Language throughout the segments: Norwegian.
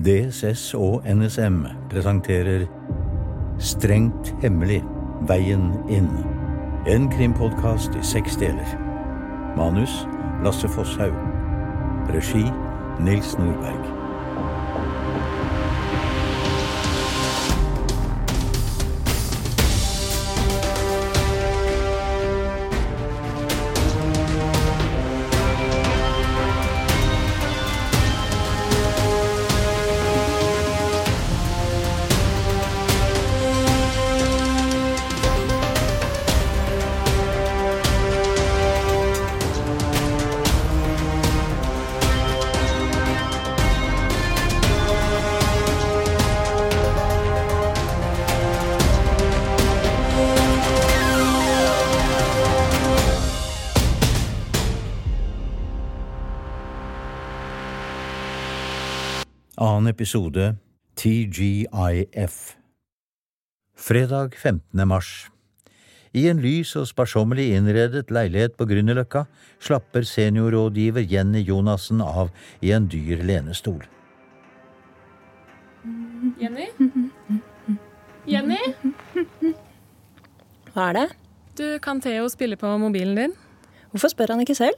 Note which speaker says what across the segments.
Speaker 1: DSS og NSM presenterer Strengt hemmelig veien inn. En krimpodkast i seks deler. Manus Lasse Fosshaug. Regi Nils Nordberg. Annen episode TGIF. Fredag 15. mars. I en lys og sparsommelig innredet leilighet på Grünerløkka slapper seniorrådgiver Jenny Jonassen av i en dyr lenestol.
Speaker 2: Jenny? Jenny?
Speaker 3: Hva er det?
Speaker 2: Du, kan Theo spille på mobilen din?
Speaker 3: Hvorfor spør han ikke selv?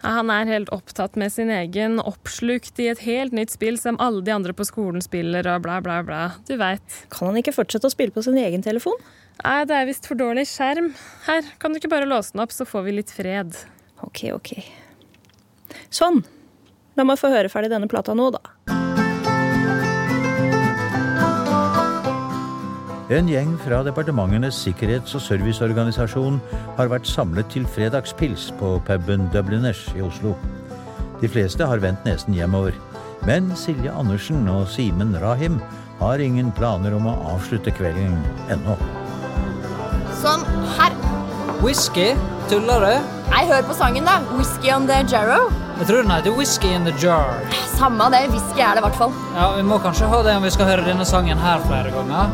Speaker 2: Ja, Han er helt opptatt med sin egen, oppslukt i et helt nytt spill som alle de andre på skolen spiller og bla, bla, bla. Du veit.
Speaker 3: Kan han ikke fortsette å spille på sin egen telefon?
Speaker 2: Nei, det er visst for dårlig skjerm. Her, kan du ikke bare låse den opp, så får vi litt fred?
Speaker 3: Ok, ok. Sånn. La meg få høre ferdig denne plata nå, da.
Speaker 1: En gjeng fra departementenes sikkerhets- og serviceorganisasjon har vært samlet til fredagspils på puben Dubliners i Oslo. De fleste har vendt nesen hjemover, men Silje Andersen og Simen Rahim har ingen planer om å avslutte kvelden ennå.
Speaker 4: Sånn, her.
Speaker 5: Whisky? Tuller du?
Speaker 4: Nei, hør på sangen, da. Whisky on the Jarrow.
Speaker 5: Jeg tror den heter Whisky in the jar.
Speaker 4: Samme det, whisky er det i hvert fall.
Speaker 5: Ja, Vi må kanskje ha det om vi skal høre denne sangen her flere ganger.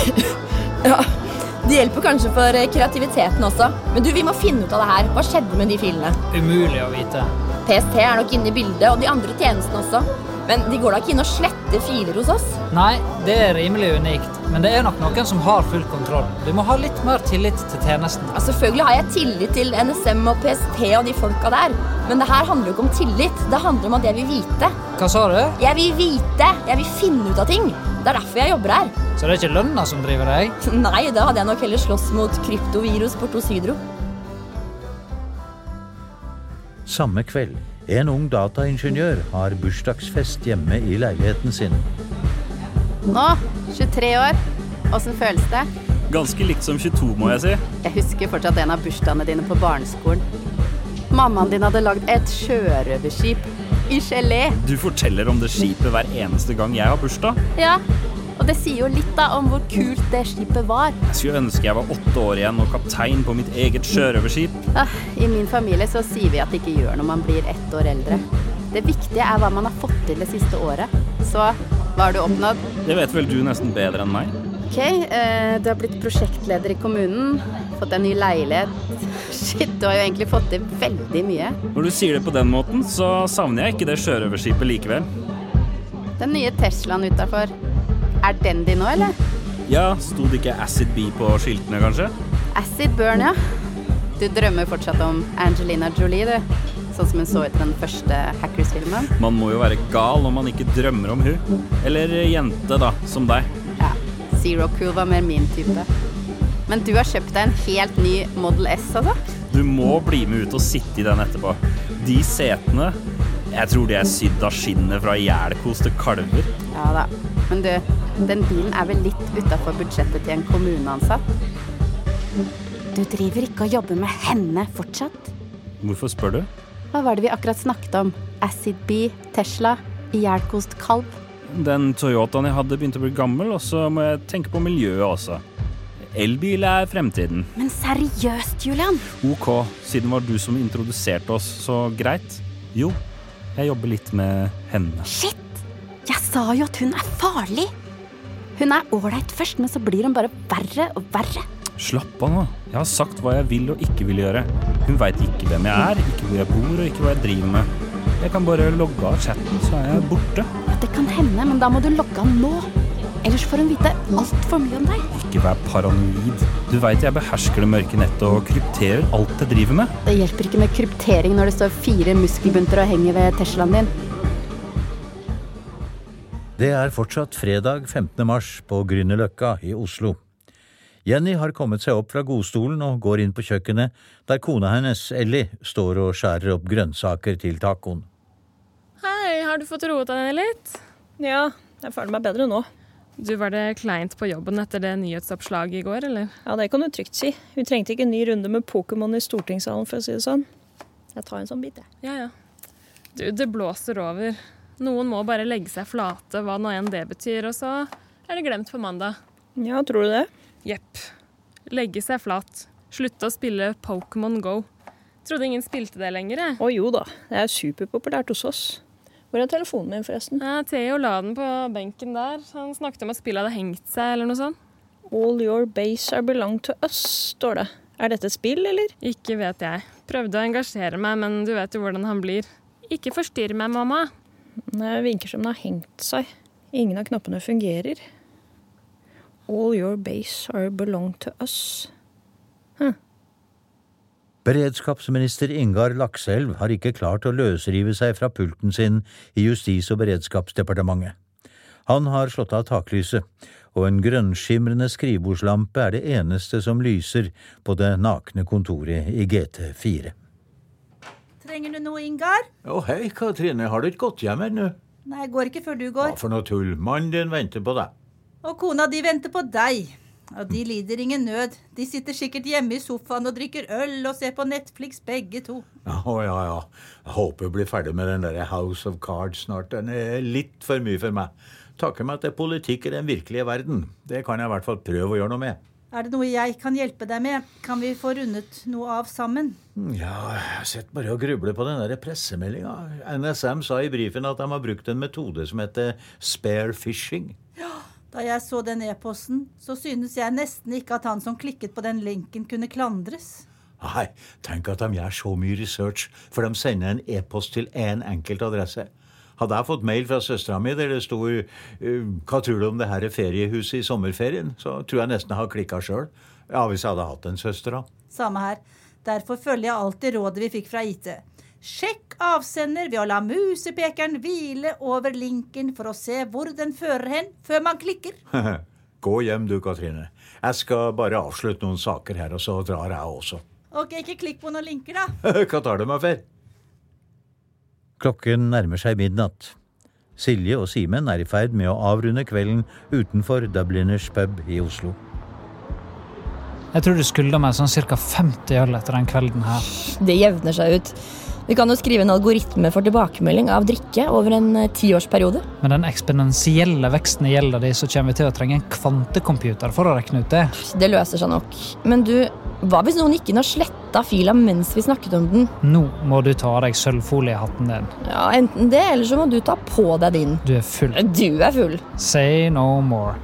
Speaker 4: Det hjelper kanskje for eh, kreativiteten også. Men du, vi må finne ut av det her. Hva skjedde med de filene?
Speaker 5: Umulig å vite.
Speaker 4: PST er nok inne i bildet, og de andre tjenestene også. Men de går da ikke inn og sletter filer hos oss?
Speaker 5: Nei, det er rimelig unikt. Men det er nok noen som har full kontroll. Du må ha litt mer tillit til tjenesten.
Speaker 4: Ja, selvfølgelig har jeg tillit til NSM og PST og de folka der. Men det her handler jo ikke om tillit. Det handler om at jeg vil vite.
Speaker 5: Hva sa du?
Speaker 4: Jeg vil vite! Jeg vil finne ut av ting. Det er derfor jeg jobber her.
Speaker 5: Så det er ikke lønna som driver deg?
Speaker 4: Nei, da hadde jeg nok heller slåss mot kryptovirus Portos Hydro.
Speaker 1: Samme kveld, en ung dataingeniør har bursdagsfest hjemme i leiligheten sin.
Speaker 6: Nå, 23 år. Åssen føles det?
Speaker 7: Ganske likt som 22, må jeg si.
Speaker 6: Jeg husker fortsatt en av bursdagene dine på barneskolen. Mammaen din hadde lagd et sjørøverskip i gelé.
Speaker 7: Du forteller om det skipet hver eneste gang jeg har bursdag.
Speaker 6: Ja, og det sier jo litt da om hvor kult det skipet var.
Speaker 7: Jeg skulle ønske jeg var åtte år igjen og kaptein på mitt eget sjørøverskip.
Speaker 6: Ah, I min familie så sier vi at det ikke gjør når man blir ett år eldre. Det viktige er hva man har fått til det siste året. Så hva har du oppnådd?
Speaker 7: Det vet vel du nesten bedre enn meg?
Speaker 6: Ok, eh, du har blitt prosjektleder i kommunen, fått en ny leilighet. Shit, du har jo egentlig fått til veldig mye.
Speaker 7: Når du sier det på den måten, så savner jeg ikke det sjørøverskipet likevel.
Speaker 6: Den nye Teslaen utafor, er den din nå, eller?
Speaker 7: Ja, sto det ikke Acid Bee på skiltene, kanskje?
Speaker 6: Acid Burn, ja. Du drømmer fortsatt om Angelina Jolie, du. Sånn som hun så ut i den første Hackers-filmen.
Speaker 7: Man må jo være gal om man ikke drømmer om hun. Eller jente, da, som deg.
Speaker 6: Ja, Zero Cool var mer min type. Men du har kjøpt deg en helt ny Model S, altså?
Speaker 7: Du må bli med ut og sitte i den etterpå. De setene Jeg tror de er sydd av skinnet fra jælkoste kalver.
Speaker 6: Ja da. Men du, den bilen er vel litt utafor budsjettet til en kommuneansatt? Du driver ikke og jobber med henne fortsatt?
Speaker 7: Hvorfor spør du?
Speaker 6: Hva var det vi akkurat snakket om? Acid Bee, Tesla, ihjelkost kalv?
Speaker 7: Den Toyotaen jeg hadde begynte å bli gammel, og så må jeg tenke på miljøet også. Elbil er fremtiden.
Speaker 6: Men seriøst, Julian!
Speaker 7: Ok, siden det var du som introduserte oss, så greit. Jo, jeg jobber litt med henne.
Speaker 6: Shit! Jeg sa jo at hun er farlig! Hun er ålreit først, men så blir hun bare verre og verre.
Speaker 7: Slapp av nå. Jeg har sagt hva jeg vil og ikke vil gjøre. Hun veit ikke hvem jeg er, ikke hvor jeg bor og ikke hva jeg driver med. Jeg kan bare logge av chatten, så er jeg borte.
Speaker 6: Ja, det kan hende, henne, men da må du logge av nå. Ellers får hun vite altfor mye om deg.
Speaker 7: Ikke vær paranoid. Du veit jeg behersker det mørke nettet og krypterer alt jeg driver med.
Speaker 6: Det hjelper ikke med kryptering når det står fire muskelbunter og henger ved Teslaen din.
Speaker 1: Det er fortsatt fredag 15. mars på Grünerløkka i Oslo. Jenny har kommet seg opp fra godstolen og går inn på kjøkkenet, der kona hennes, Ellie, står og skjærer opp grønnsaker til tacoen.
Speaker 2: Hei, har du fått roet deg ned litt?
Speaker 3: Ja, jeg føler meg bedre nå.
Speaker 2: Du, var det kleint på jobben etter det nyhetsoppslaget i går, eller?
Speaker 3: Ja, det kan du trygt si. Vi trengte ikke en ny runde med Pokémon i stortingssalen, for å si det sånn. Jeg tar en sånn bit, jeg.
Speaker 2: Ja, ja. Du, det blåser over. Noen må bare legge seg flate, hva nå enn det betyr, og så er det glemt på mandag.
Speaker 3: Ja, tror du det?
Speaker 2: Jepp. Legge seg flat. Slutte å spille Pokémon Go. Trodde ingen spilte det lenger, jeg.
Speaker 3: Å jo da, det er superpopulært hos oss. Hvor er telefonen min, forresten?
Speaker 2: Ja, Theo la den på benken der. Han snakket om at spillet hadde hengt seg, eller noe sånt.
Speaker 3: All your base are belong to us, står det. Er dette et spill, eller?
Speaker 2: Ikke vet jeg. Prøvde å engasjere meg, men du vet jo hvordan han blir. Ikke forstyrr meg, mamma.
Speaker 3: Nei, det virker som den har hengt seg. Ingen av knappene fungerer. All your base are belong to us.
Speaker 1: Beredskapsminister Ingar Lakselv har ikke klart å løsrive seg fra pulten sin i Justis- og beredskapsdepartementet. Han har slått av taklyset, og en grønnskimrende skrivebordslampe er det eneste som lyser på det nakne kontoret i GT4.
Speaker 8: Trenger du noe, Ingar?
Speaker 1: Å hei, Katrine, har du ikke gått hjem ennå?
Speaker 8: Nei, jeg går ikke før du går.
Speaker 1: for noe tull, mannen din venter på deg.
Speaker 8: Og kona di venter på deg. Og de lider ingen nød. De sitter sikkert hjemme i sofaen og drikker øl og ser på Netflix begge to.
Speaker 9: Å ja, ja. Jeg håper jeg blir ferdig med den der House of Cards snart. Den er litt for mye for meg. Takker meg at det er politikk i den virkelige verden. Det kan jeg i hvert fall prøve å gjøre noe med.
Speaker 8: Er det noe jeg kan hjelpe deg med? Kan vi få rundet noe av sammen?
Speaker 9: Hm, Ja, jeg sitter bare og grubler på den der pressemeldinga. NSM sa i brifen at de har brukt en metode som heter spare fishing.
Speaker 8: Da jeg så den e-posten, så synes jeg nesten ikke at han som klikket på den linken, kunne klandres.
Speaker 9: Nei, tenk at de gjør så mye research, for de sender en e-post til én en enkelt adresse. Hadde jeg fått mail fra søstera mi der det sto eh, 'Hva tror du om det her feriehuset i sommerferien?' så tror jeg nesten jeg har klikka sjøl. Ja, hvis jeg hadde hatt en søster, da.
Speaker 8: Samme her. Derfor følger jeg alltid rådet vi fikk fra IT. Sjekk avsender ved å la musepekeren hvile over linken for å se hvor den fører hen, før man klikker.
Speaker 9: Gå hjem du, Katrine. Jeg skal bare avslutte noen saker her, og så drar jeg også.
Speaker 8: Ok, ikke klikk på noen linker, da.
Speaker 9: Hva tar du meg for?
Speaker 1: Klokken nærmer seg midnatt. Silje og Simen er i ferd med å avrunde kvelden utenfor Dubliners pub i Oslo.
Speaker 5: Jeg tror du skylder meg sånn ca. 50 øl etter den kvelden her.
Speaker 4: Det jevner seg ut. Vi kan jo skrive en algoritme for tilbakemelding av drikke over en eh, tiårsperiode.
Speaker 5: Med den eksponentielle veksten i gjelda di, så kommer vi til å trenge en kvantecomputer for å regne ut det.
Speaker 4: Det løser seg nok. Men du, hva hvis noen gikk inn og sletta fila mens vi snakket om den?
Speaker 5: Nå må du ta av deg sølvfoliehatten din.
Speaker 4: Ja, Enten det, eller så må du ta på deg din.
Speaker 5: Du er full.
Speaker 4: Du er full.
Speaker 5: Say no more.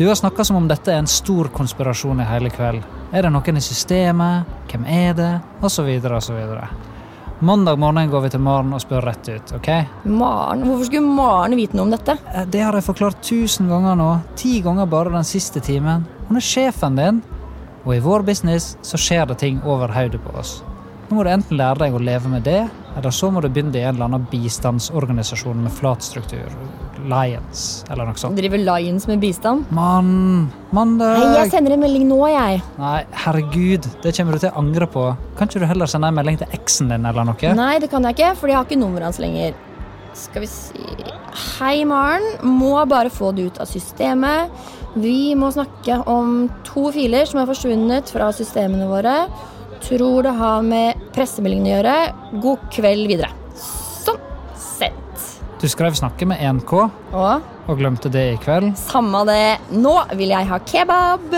Speaker 5: Du har snakka som om dette er en stor konspirasjon i hele kveld. Er det noen i systemet? Hvem er det? Og så videre og så videre. Mandag morgen går vi til Maren og spør rett ut, OK?
Speaker 4: Maren, Hvorfor skulle Maren vite noe om dette?
Speaker 5: Eh, Det har jeg forklart tusen ganger nå. Ti ganger bare den siste timen. Hun er sjefen din. Og i vår business så skjer det ting over hodet på oss. Nå må du enten lære deg å leve med det, eller så må du begynne i en eller annen bistandsorganisasjon med flat struktur. Lions, eller noe sånt.
Speaker 4: Driver Lions med bistand?
Speaker 5: Mann! Mandag!
Speaker 4: Hei, jeg sender en melding nå, jeg.
Speaker 5: Nei, herregud, det kommer du til å angre på. Kan ikke du heller sende en melding til eksen din eller noe?
Speaker 4: Nei, det kan jeg ikke, for jeg har ikke nummeret hans lenger. Skal vi si Hei, Maren. Må bare få det ut av systemet. Vi må snakke om to filer som er forsvunnet fra systemene våre. Tror det har med pressemeldingen å gjøre. God kveld videre. Sånn. Sendt.
Speaker 5: Du skrev 'snakke med 1K'
Speaker 4: Og
Speaker 5: og glemte det i kveld.
Speaker 4: samme det. Nå vil jeg ha kebab.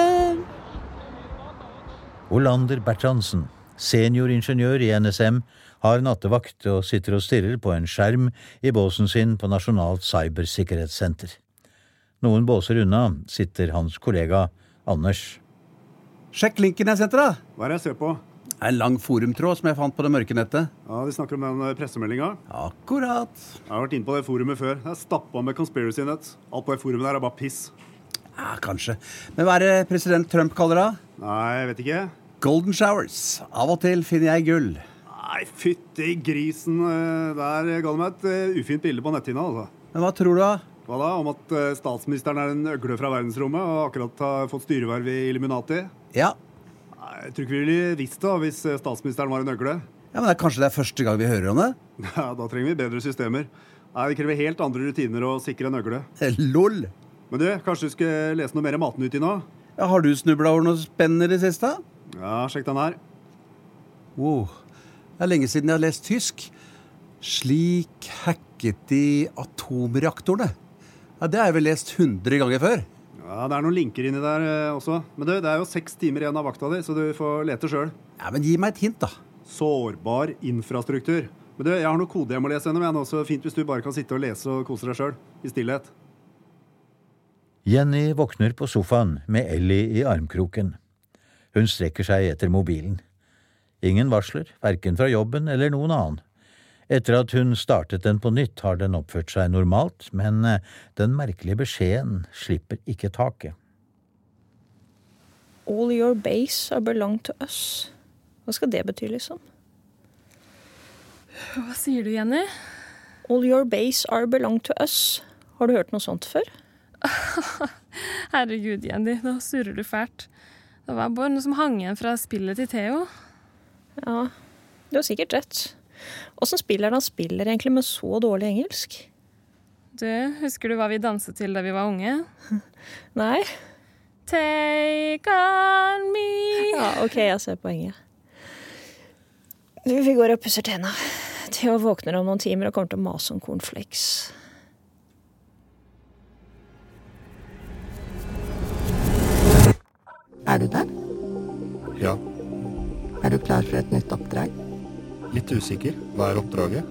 Speaker 1: Olander Bertrandsen, senioringeniør i NSM, har nattevakt og sitter og stirrer på en skjerm i båsen sin på Nasjonalt cybersikkerhetssenter. Noen båser unna sitter hans kollega Anders.
Speaker 10: Sjekk linken jeg sendte deg.
Speaker 11: Hva er det jeg ser på?
Speaker 10: En lang forumtråd som jeg fant på det mørke nettet.
Speaker 11: Ja, De snakker om den eh, pressemeldinga.
Speaker 10: Akkurat.
Speaker 11: Jeg har vært inne på det forumet før. Det er stappa med conspiracy nett. Alt på det forumet der er bare piss.
Speaker 10: Ja, kanskje. Men hva er det president Trump kaller det?
Speaker 11: Nei, jeg vet ikke.
Speaker 10: Golden showers. Av og til finner jeg gull.
Speaker 11: Nei, fytti grisen. eh, Der ga du meg et eh, ufint bilde på netthinna, altså.
Speaker 10: Men hva tror du, da?
Speaker 11: Hva da? Om at eh, statsministeren er en øgle fra verdensrommet og akkurat har fått styreverv i Illuminati?
Speaker 10: Ja.
Speaker 11: Nei, jeg tror ikke vi ville visst det da, hvis eh, statsministeren var en øgle.
Speaker 10: Ja, men det er Kanskje det er første gang vi hører om det?
Speaker 11: Ja, Da trenger vi bedre systemer. Nei, Det krever helt andre rutiner å sikre en øgle.
Speaker 10: Eh, Lol.
Speaker 11: Men du, kanskje du skulle lese noe mer om Matnyttig nå?
Speaker 10: Ja, har du snubla over noe spennende i det siste?
Speaker 11: Ja, sjekk den her.
Speaker 10: Wow. Det er lenge siden jeg har lest tysk. Slik hacket de atomreaktorene. Ja, Det har jeg vel lest 100 ganger før.
Speaker 11: Ja, Det er noen linker inni der eh, også. Men du, det er jo seks timer igjen av vakta di, så du får lete sjøl.
Speaker 10: Ja, men gi meg et hint, da.
Speaker 11: Sårbar infrastruktur. Men du, jeg har noe kode jeg må lese gjennom, jeg nå, så fint hvis du bare kan sitte og lese og kose deg sjøl. I stillhet.
Speaker 1: Jenny våkner på sofaen med Ellie i armkroken. Hun strekker seg etter mobilen. Ingen varsler, verken fra jobben eller noen annen. Etter at hun startet den på nytt, har den oppført seg normalt, men eh, den merkelige beskjeden slipper ikke taket.
Speaker 3: All your base are belong to us. Hva skal det bety, liksom?
Speaker 2: Hva sier du, Jenny?
Speaker 3: All your base are belong to us. Har du hørt noe sånt før?
Speaker 2: Herregud, Jenny, nå surrer du fælt. Det var bare noe som hang igjen fra spillet til Theo.
Speaker 3: Ja, du har sikkert rett. Åssen spiller han spiller egentlig med så dårlig engelsk?
Speaker 2: Du, husker du hva vi danset til da vi var unge?
Speaker 3: Nei.
Speaker 2: Take on me.
Speaker 3: Ja, OK, jeg ser poenget. Du, vi går og pusser tenna. Theo våkner om noen timer og kommer til å mase om cornflakes.
Speaker 12: Er du der?
Speaker 13: Ja,
Speaker 12: Er du klar for et nytt oppdrag?
Speaker 13: litt usikker. Hva er oppdraget?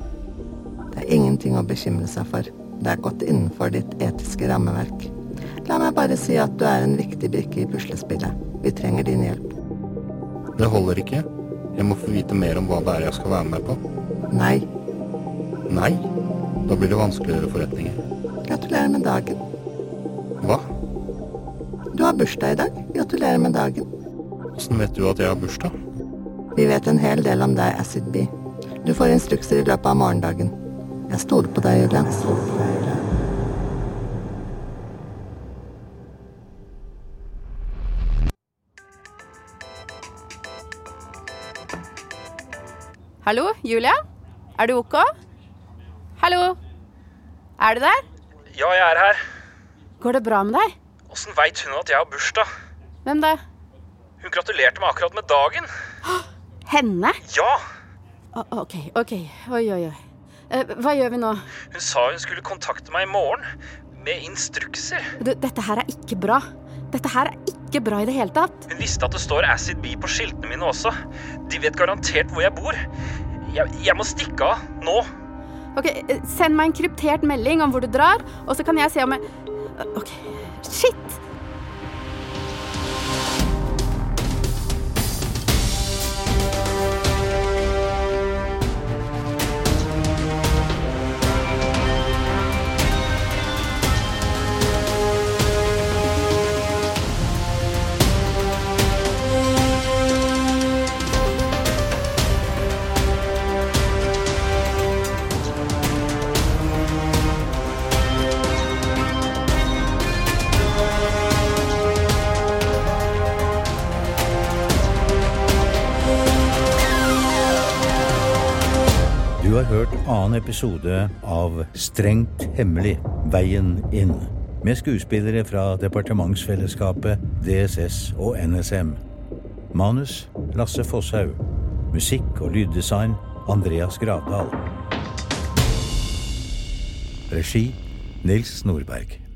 Speaker 12: Det er ingenting å bekymre seg for. Det er godt innenfor ditt etiske rammeverk. La meg bare si at du er en viktig brikke i puslespillet. Vi trenger din hjelp.
Speaker 13: Det holder ikke. Jeg må få vite mer om hva det er jeg skal være med på.
Speaker 12: Nei,
Speaker 13: Nei, da blir det vanskeligere forretninger.
Speaker 12: gratulerer med dagen.
Speaker 13: Hva?
Speaker 12: Du har bursdag i dag. Gratulerer med dagen.
Speaker 13: Åssen vet du at jeg har bursdag?
Speaker 12: Vi vet en hel del om deg, Acid B. Du får instrukser i løpet av morgendagen. Jeg stoler på deg, Julians.
Speaker 6: Hallo, Julia? Er du OK? Hallo? Er du der?
Speaker 14: Ja, jeg er her.
Speaker 6: Går det bra med deg?
Speaker 14: Åssen veit hun at jeg har bursdag?
Speaker 6: Hvem da?
Speaker 14: Hun gratulerte meg akkurat med dagen.
Speaker 6: Henne?
Speaker 14: Ja!
Speaker 6: Å, OK, OK. Oi, oi, oi. Eh, hva gjør vi nå?
Speaker 14: Hun sa hun skulle kontakte meg i morgen. Med instrukser.
Speaker 6: Du, dette her er ikke bra. Dette her er ikke bra i det hele tatt.
Speaker 14: Hun visste at det står Acid B på skiltene mine også. De vet garantert hvor jeg bor. Jeg, jeg må stikke av. Nå.
Speaker 6: Ok, eh, Send meg en kryptert melding om hvor du drar, og så kan jeg se om jeg OK. Shit!
Speaker 1: Du har hørt annen episode av Strengt hemmelig veien inn, med skuespillere fra Departementsfellesskapet, DSS og NSM. Manus Lasse Fosshaug. Musikk og lyddesign Andreas Gravdal. Regi Nils Nordberg.